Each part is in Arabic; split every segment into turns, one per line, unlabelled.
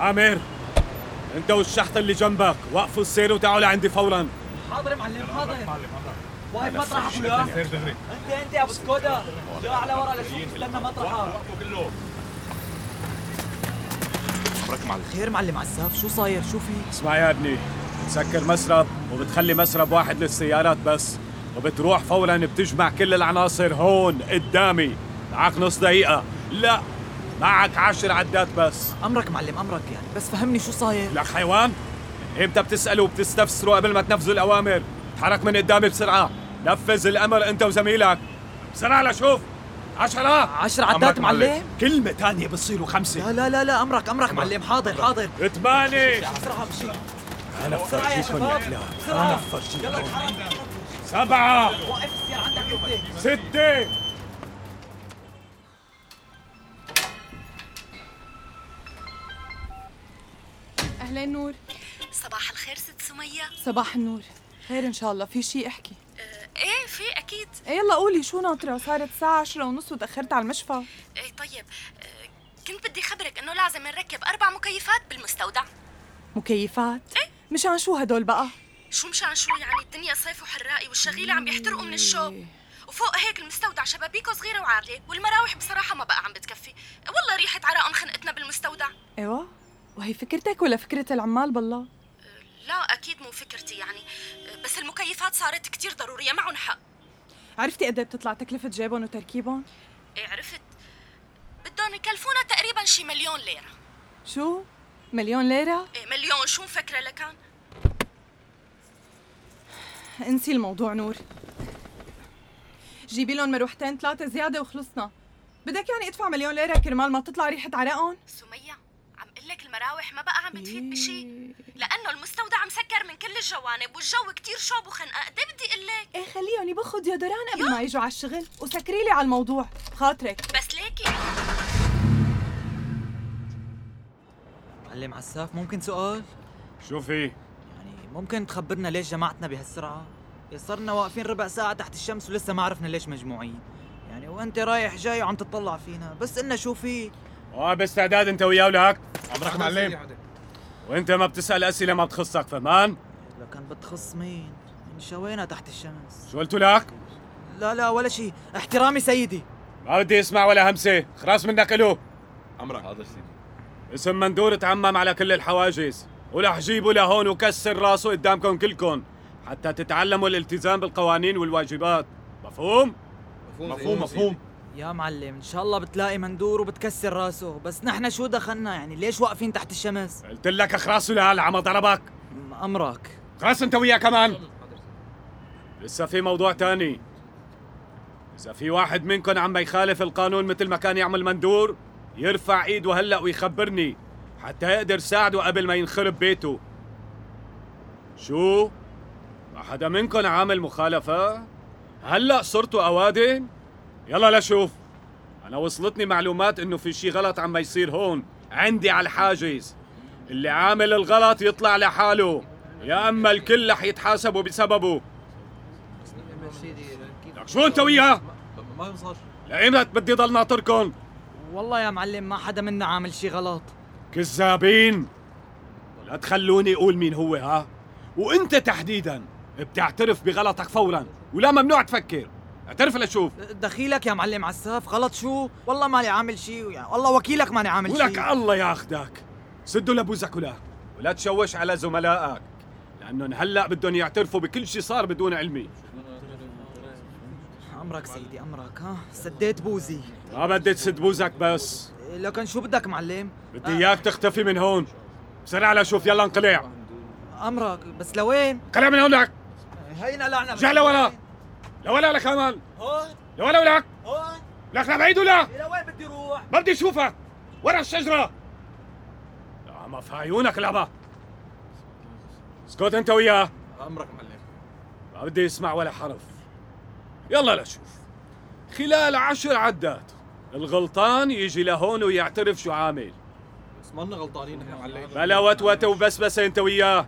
عامر انت والشحطة اللي جنبك وقفوا السير وتعالوا لعندي فورا
حاضر معلم حاضر واقف مطرحك وياه انت انت يا ابو سكودا جا على ورا لشوف استنى مطرحك
عمرك معلم
خير معلم عساف شو صاير شو في
اسمع يا ابني بتسكر مسرب وبتخلي مسرب واحد للسيارات بس وبتروح فورا بتجمع كل العناصر هون قدامي معك نص دقيقة لا معك عشر عدات بس
امرك معلم امرك يعني بس فهمني شو صاير
لك حيوان امتى بتسألوا وبتستفسروا قبل ما تنفذوا الأوامر تحرك من قدامي بسرعة نفذ الأمر أنت وزميلك بسرعة لشوف عشرة
عشر
أمرك
عدات
معلم.
معلم
كلمة تانية بتصيروا خمسة
لا لا لا لا امرك امرك معلم حاضر حاضر
ثمانية
بسرعه بشي
أنا
بسرعه يا شباب بسرعه يلا اتحرك
سبعة
وقف السيارة عندك انت
ستة
اهلين نور
صباح الخير ست سمية
صباح النور خير ان شاء الله في شي احكي
ايه في اكيد
إيه يلا قولي شو ناطره صارت الساعه عشرة ونص وتاخرت على المشفى
ايه طيب آه، كنت بدي خبرك انه لازم نركب اربع مكيفات بالمستودع إيه،
مكيفات مشان شو هدول بقى
شو مشان شو يعني الدنيا صيف وحرائي والشغيلة عم بيحترقوا من الشوب وفوق هيك المستودع شبابيكه صغيرة وعالية والمراوح بصراحة ما بقى عم بتكفي إيه، والله ريحة عرق خنقتنا بالمستودع
ايوه وهي فكرتك ولا فكره العمال بالله
لا أكيد مو فكرتي يعني آه، بس المكيفات صارت كتير ضرورية معهم حق
عرفتي قد إيه بتطلع تكلفه جايبهم وتركيبهم
إيه عرفت بدهم يكلفونا تقريبا شي مليون ليرة
شو مليون ليره
إيه مليون شو مفكرة لكان
انسي الموضوع نور جيبي لهم مروحتين ثلاثه زياده وخلصنا بدك يعني ادفع مليون ليره كرمال ما تطلع ريحه عرقهم
سمية عم قلك المراوح ما بقى عم بتفيد بشي
إيه.
لأنه المستودع مسكر من كل الجوانب والجو كتير شوب وخنقة قد إيه بدي قلك
ايه خليهم يبخوا ديودوران قبل ما يجوا على الشغل وسكري لي على الموضوع خاطرك
بس ليكي
معلم عساف ممكن سؤال
شو في؟
يعني ممكن تخبرنا ليش جماعتنا بهالسرعة؟ صرنا واقفين ربع ساعة تحت الشمس ولسه ما عرفنا ليش مجموعين يعني وانت رايح جاي وعم تطلع فينا بس انه شو في
اه باستعداد انت وياه ولك
عمرك معلم
وانت ما بتسال اسئله ما بتخصك فهمان
لكن بتخص مين انشوينا تحت الشمس
شو قلت لك
لا لا ولا شيء احترامي سيدي
ما بدي اسمع ولا همسه خلاص منك الو
عمرك حاضر سيدي
اسم مندور تعمم على كل الحواجز ولا حجيبه لهون وكسر راسه قدامكم كلكم حتى تتعلموا الالتزام بالقوانين والواجبات مفهوم
مفهوم مفهوم
يا معلم ان شاء الله بتلاقي مندور وبتكسر راسه بس نحن شو دخلنا يعني ليش واقفين تحت الشمس
قلت لك اخراسه لهالعمى ضربك
م- امرك
خلاص انت وياه كمان لسه في موضوع تاني اذا في واحد منكم عم يخالف القانون مثل ما كان يعمل مندور يرفع ايده هلا ويخبرني حتى يقدر ساعده قبل ما ينخرب بيته شو ما حدا منكم عامل مخالفه هلا صرتوا اوادم يلا لشوف انا وصلتني معلومات انه في شي غلط عم يصير هون عندي على الحاجز اللي عامل الغلط يطلع لحاله يا اما الكل رح يتحاسبوا بسببه لك شو انت وياه؟
ما صار
لإمتى بدي ضل ناطركم؟
والله يا معلم ما حدا منا عامل شي غلط
كذابين لا تخلوني اقول مين هو ها وانت تحديدا بتعترف بغلطك فورا ولا ممنوع تفكر اعترف لشوف
دخيلك يا معلم عساف غلط شو والله ماني عامل شيء يعني والله وكيلك ماني عامل
ولك
شيء
الله ياخدك سدوا لبوزك ولا ولا تشوش على زملائك لانهم هلا بدهم يعترفوا بكل شي صار بدون علمي
امرك سيدي امرك ها سديت بوزي
ما بدي تسد بوزك بس
لكن شو بدك معلم
بدي اياك تختفي من هون بسرعه لشوف يلا انقلع
امرك بس لوين
انقلع من هونك
هينا لعنه
رجع لورا لولا لك امل
هون
لولا ولك
هون
لك لبعيد ولا
لوين بدي روح
ما بدي اشوفك ورا الشجره لا ما في عيونك لعبه اسكت انت وياه
امرك معلم
ما بدي اسمع ولا حرف يلا لشوف خلال عشر عدات الغلطان يجي لهون ويعترف شو عامل
بس ما لنا غلطانين نحن معلم
بلا وتوته وبسبسه
نعم،
انت وياه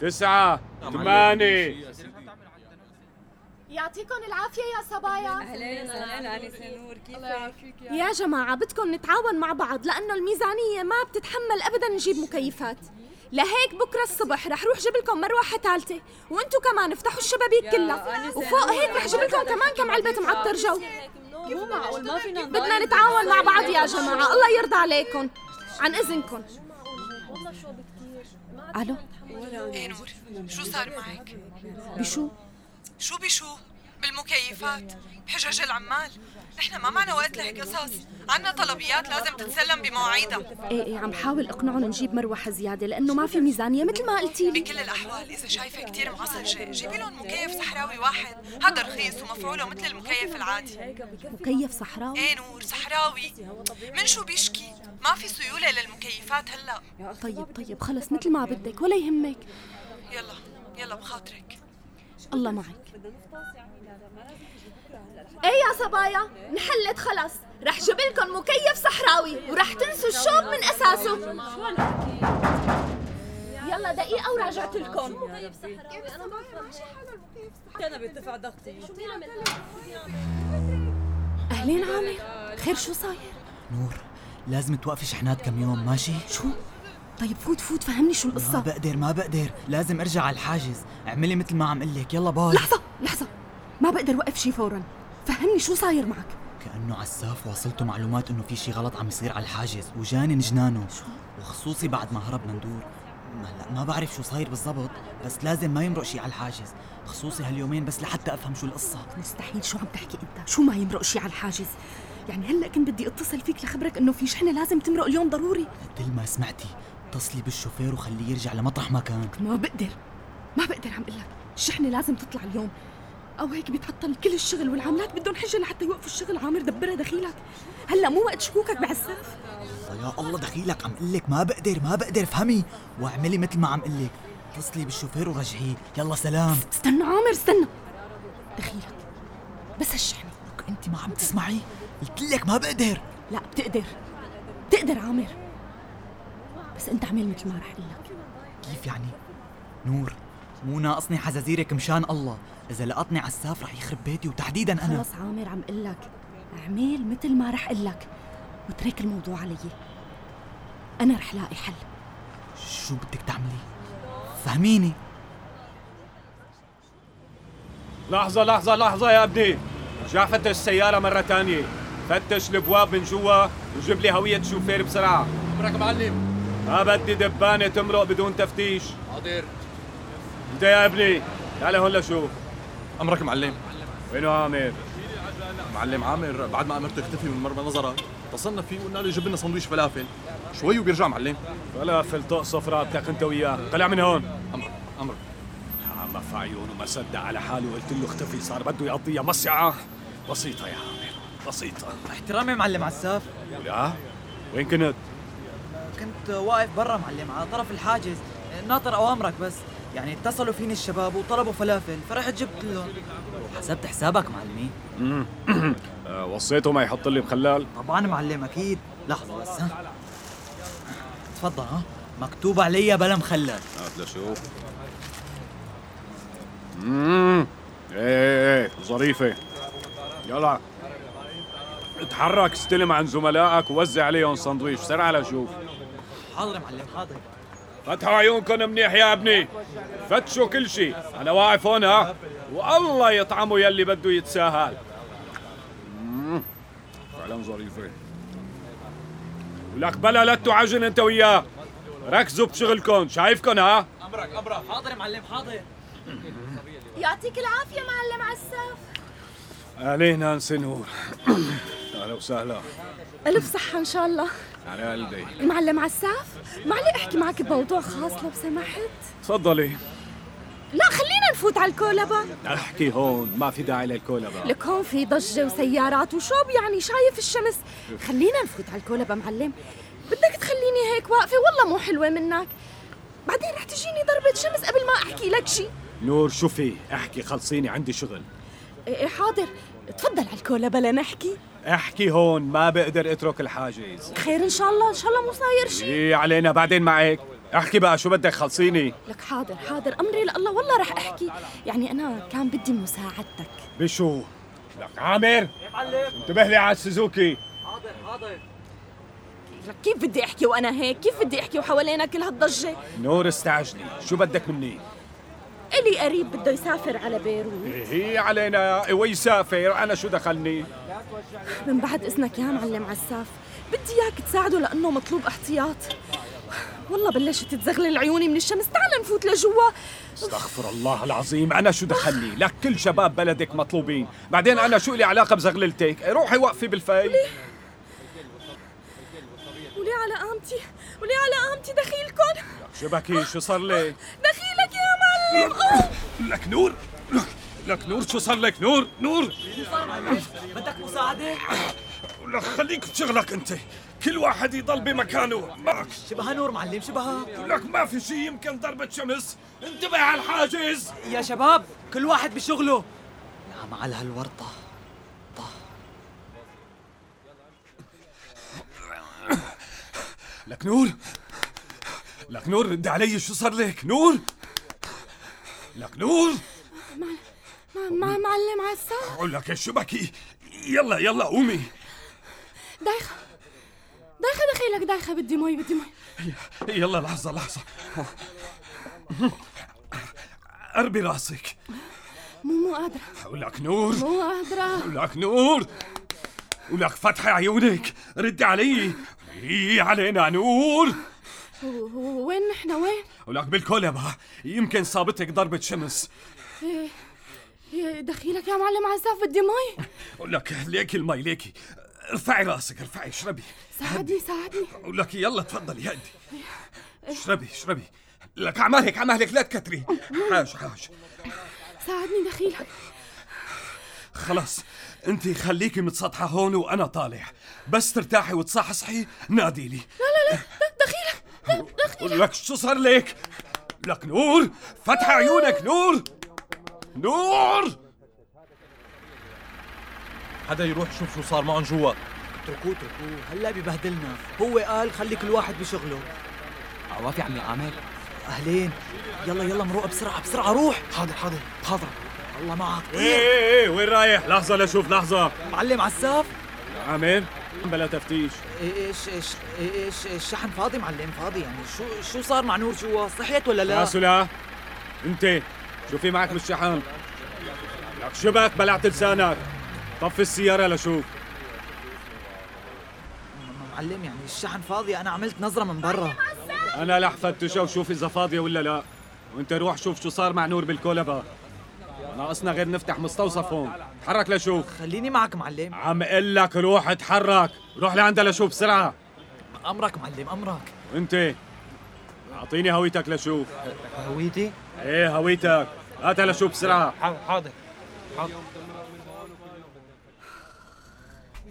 تسعة ثمانية
يعطيكم العافية يا صبايا
اهلين اهلين انسه نور كيفك؟
يا جماعة بدكم نتعاون مع بعض لأنه الميزانية ما بتتحمل أبدا نجيب مكيفات لهيك بكرة الصبح رح روح جيب لكم مروحة ثالثة وانتو كمان افتحوا الشبابيك كلها وفوق هيك رح جيب لكم كمان كم علبة معطر جو
مو معقول ما فينا
بدنا نتعاون مع بعض يا جماعة الله يرضى عليكم عن إذنكم ألو
ايه نور شو صار معك؟
بشو؟
شو بشو؟ بالمكيفات بحجج العمال نحن ما معنا وقت لهيك قصص عنا طلبيات لازم تتسلم بمواعيدها
ايه ايه عم حاول اقنعهم نجيب مروحة زيادة لأنه ما في ميزانية مثل ما قلتي لي
بكل الاحوال اذا شايفه كثير معصلجه جيبي لهم مكيف صحراوي واحد هذا رخيص ومفعوله مثل المكيف العادي
مكيف صحراوي
ايه نور صحراوي من شو بيشكي ما في سيوله للمكيفات هلا
طيب طيب خلص مثل ما بدك ولا يهمك
يلا يلا بخاطرك
الله معك ايه يا صبايا انحلت خلص رح جيب لكم مكيف صحراوي ورح تنسوا الشوب من اساسه يلا دقيقة وراجعت لكم
انا بارتفع ضغطي
اهلين عامر خير شو صاير؟
نور لازم توقفي شحنات كم يوم ماشي؟ شو؟
طيب فوت فوت فهمني شو
ما
القصة
بقدر ما بقدر لازم ارجع على الحاجز اعملي مثل ما عم قلك يلا باي
لحظة لحظة ما بقدر وقف شي فورا فهمني شو صاير معك
كأنه عساف واصلته معلومات انه في شي غلط عم يصير على الحاجز وجانن جنانه شو؟ وخصوصي بعد ما هرب مندور ما- هلا ما بعرف شو صاير بالضبط بس لازم ما يمرق شي على الحاجز خصوصي هاليومين بس لحتى افهم شو القصة
مستحيل شو عم تحكي انت شو ما يمرق شي على الحاجز يعني هلا كنت بدي اتصل فيك لخبرك انه في شحنه لازم تمرق اليوم ضروري
مثل ما سمعتي اتصلي بالشوفير وخليه يرجع لمطرح ما كان
ما بقدر ما بقدر عم اقول لك الشحنه لازم تطلع اليوم او هيك بيتعطل كل الشغل والعاملات بدهم حجه لحتى يوقفوا الشغل عامر دبرها دخيلك هلا مو وقت شكوكك بعساف
يا الله دخيلك عم قلك ما بقدر ما بقدر افهمي واعملي مثل ما عم قلك اتصلي بالشوفير ورجعيه يلا سلام
استنى عامر استنى دخيلك بس الشحنه
لك انت ما عم تسمعي قلت لك ما بقدر
لا بتقدر بتقدر عامر بس انت عمل مثل ما رح اقول لك
كيف يعني نور مو ناقصني حزازيرك مشان الله اذا لقطني عساف رح يخرب بيتي وتحديدا انا
خلص عامر عم اقول لك اعمل مثل ما رح اقول لك واترك الموضوع علي انا رح لاقي حل
شو بدك تعملي فهميني
لحظة لحظة لحظة يا ابني رجع فتش السيارة مرة تانية فتش الابواب من جوا وجيب لي هوية شوفير بسرعة
امرك معلم
ما بدي دبانة تمرق بدون تفتيش
حاضر
انت يا ابني تعال هون لشوف
امرك معلم
وينو عامر
معلم عامر بعد ما امرته يختفي من مرمى نظرك اتصلنا فيه وقلنا له جيب لنا سندويش فلافل شوي وبيرجع معلم
فلافل تقصف رابطك انت وياه طلع من هون
امرك امرك
عم في عيونه نعم، ما صدق على حاله قلت له اختفي صار بده يقضيها مصيعة بسيطة يا عامر بسيطة
احترامي معلم عساف
لا آه. وين كنت؟
كنت واقف برا معلم على طرف الحاجز ناطر اوامرك بس يعني اتصلوا فيني الشباب وطلبوا فلافل فرحت جبت لهم حسبت حسابك معلمي
أه وصيته ما يحط لي مخلال
طبعا معلم اكيد لحظه بس ها تفضل ها مكتوب علي بلا مخلل
هات لشوف اممم ايه ايه ايه ظريفة يلا اتحرك استلم عن زملائك ووزع عليهم سندويش سرعة لشوف
حاضر معلم حاضر
فتحوا عيونكم منيح يا ابني فتشوا كل شيء انا واقف هون ها والله يطعموا يلي بده يتساهل مم، فعلا ظريفه ولك بلا لا تعجن انت وياه ركزوا بشغلكم شايفكم ها
امرك امرك حاضر معلم حاضر
يعطيك العافيه معلم عساف
اهلين انسي نور اهلا وسهلا
الف صحه ان شاء الله
على قلبي
معلم عساف معلي احكي معك بموضوع خاص لو سمحت
تفضلي
لا خلينا نفوت على الكولبا
احكي هون ما في داعي للكولبا
لك هون في ضجة وسيارات وشوب يعني شايف الشمس خلينا نفوت على الكولبا معلم بدك تخليني هيك واقفة والله مو حلوة منك بعدين رح تجيني ضربة شمس قبل ما احكي لك شي
نور شوفي احكي خلصيني عندي شغل
إيه إيه حاضر تفضل على الكولبا لنحكي
احكي هون ما بقدر اترك الحاجز
خير ان شاء الله ان شاء الله مو صاير شي
ايه علينا إيه بعدين معك احكي بقى شو بدك خلصيني
لك حاضر حاضر امري لله والله رح احكي يعني انا كان بدي مساعدتك
بشو لك عامر انتبه لي على السوزوكي
لك كيف بدي احكي وانا هيك كيف بدي احكي وحوالينا كل هالضجه
نور استعجلي شو بدك مني
الي قريب بده يسافر على بيروت
إيه، هي علينا إيه، ويسافر انا شو دخلني
من بعد اذنك يا معلم عساف بدي اياك تساعده لانه مطلوب احتياط والله بلشت تزغلل عيوني من الشمس تعال نفوت لجوا
استغفر الله العظيم انا شو دخلني لك كل شباب بلدك مطلوبين بعدين انا شو لي علاقه بزغللتك إيه، روحي وقفي بالفي
ولي على قامتي ولي على قامتي دخيلكم
شو بكي شو صار لك
دخيلك يا معلم أوه.
لك نور لك لك نور شو صار لك نور نور
بدك مساعدة؟
لك خليك بشغلك انت كل واحد يضل بمكانه معك
شبهها نور معلم شبهها
لك ما في شيء يمكن ضربة شمس انتبه على الحاجز
يا شباب كل واحد بشغله نعم على هالورطة
لك نور لك نور رد علي شو صار لك نور لك نور
مع مع معلم عساف
أقول لك شو بكي يلا يلا قومي
دايخه دايخه دخيلك دايخه بدي مي بدي مي
يلا لحظة لحظة قربي راسك
مو مو قادره
ولك نور
مو قادره
ولك نور ولك فتحي عيونك ردي علي هي علينا نور
هو- هو وين نحن وين؟
ولك بالكولبة يمكن صابتك ضربة شمس
إيه، إيه، دخيلك يا معلم عزاف بدي مي
ولك ليكي المي ليكي ارفعي راسك ارفعي اشربي
ساعدني ساعدني
ولك يلا تفضلي هدي اشربي اشربي لك عمالك عمالك لا تكتري حاج حاج
ساعدني دخيلك
خلاص انت خليكي متسطحه هون وانا طالع بس ترتاحي وتصحصحي نادي لي
دخيلك
لك شو صار لك لك نور فتح عيونك نور نور
حدا يروح يشوف شو صار معهم جوا
اتركوه اتركوه هلا ببهدلنا هو قال خلي كل واحد بشغله عوافي عمي عامر اهلين يلا يلا مروق بسرعه بسرعه روح حاضر حاضر إيه. حاضر الله معك
ايه ايه ايه وين رايح لحظه لاشوف لحظه
معلم عساف
عامر بلا تفتيش
ايش ايش ايش الشحن فاضي معلم فاضي يعني شو شو صار مع نور جوا صحيت ولا لا
راسه لا انت شو في معك بالشحن لك شبك بلعت لسانك طفي السياره لشوف
معلم يعني الشحن فاضي انا عملت نظره من برا
انا رح فتشها وشوف اذا فاضيه ولا لا وانت روح شوف شو صار مع نور بالكولبا ناقصنا غير نفتح مستوصف هون تحرك لشوف
خليني معك معلم
عم اقول لك روح اتحرك روح لعندها لشوف بسرعه
امرك معلم امرك
وانت اعطيني هويتك لشوف
هويتي
ايه هويتك هاتها لشوف بسرعه
حاضر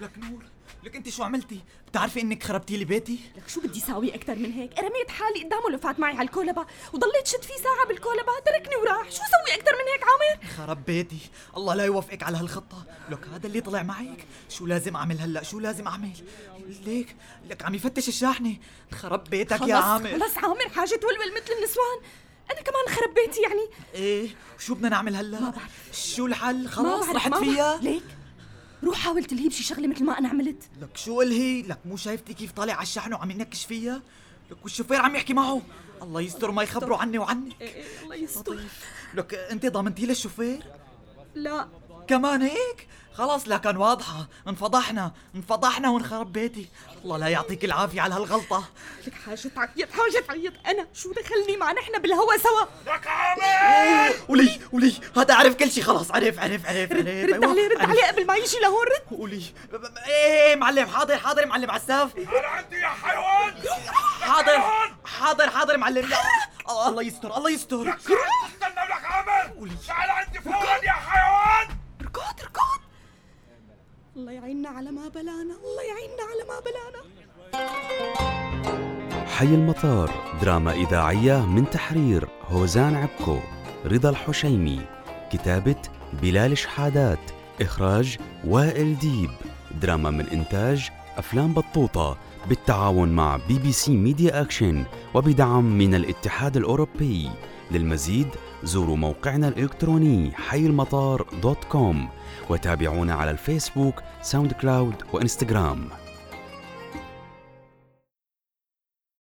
لك نور لك انت شو عملتي بتعرفي انك خربتي لي بيتي
لك شو بدي ساوي اكثر من هيك؟ رميت حالي قدامه لفات معي على الكولبه وضليت شد فيه ساعه بالكولبه تركني وراح، شو سوي اكثر من هيك عامر؟
خرب بيتي الله لا يوفقك على هالخطة لك هذا اللي طلع معك شو لازم أعمل هلأ شو لازم أعمل ليك لك عم يفتش الشاحنة خرب بيتك يا
خلص-
عامر
خلص عامر حاجه تولول مثل النسوان انا كمان خرب بيتي يعني
إيه شو بدنا نعمل هلأ ما بعرف. شو الحل
ما
خلاص
بعرف-
رحت
ما بعرف.
فيها
ليك روح حاول تلهي بشي شغله مثل ما انا عملت
لك شو هي لك مو شايفتي كيف طالع على الشحن وعم ينكش فيها لك والشوفير عم يحكي معه الله يستر ما يخبروا عني وعنك
الله يستر
لك انت ضمنتي للشوفير
لا
كمان هيك خلاص لا كان واضحة انفضحنا انفضحنا وانخرب بيتي الله لا يعطيك العافية على هالغلطة
لك حاجة تعيط حاجة تعيط أنا شو دخلني مع نحن بالهوا سوا إيه.
ولي ولي هذا عرف كل شيء خلاص عرف عرف عرف عرف
رد عليه رد عليه قبل ما يجي لهون رد
ولي ب- ب- ايه معلم حاضر حاضر معلم عساف
عندي يا حيوان
حاضر حاضر حاضر معلم لا آه، الله يستر الله يستر
استنى لك عامر تعال عندي فورا يا حيوان
ركض ركض الله يعيننا على ما بلانا الله يعيننا على ما بلانا
حي المطار دراما إذاعية من تحرير هوزان عبكو رضا الحشيمي كتابة بلال شحادات إخراج وائل ديب دراما من إنتاج أفلام بطوطة بالتعاون مع بي بي سي ميديا أكشن وبدعم من الاتحاد الأوروبي للمزيد زوروا موقعنا الإلكتروني حي المطار دوت كوم وتابعونا على الفيسبوك ساوند كلاود وإنستغرام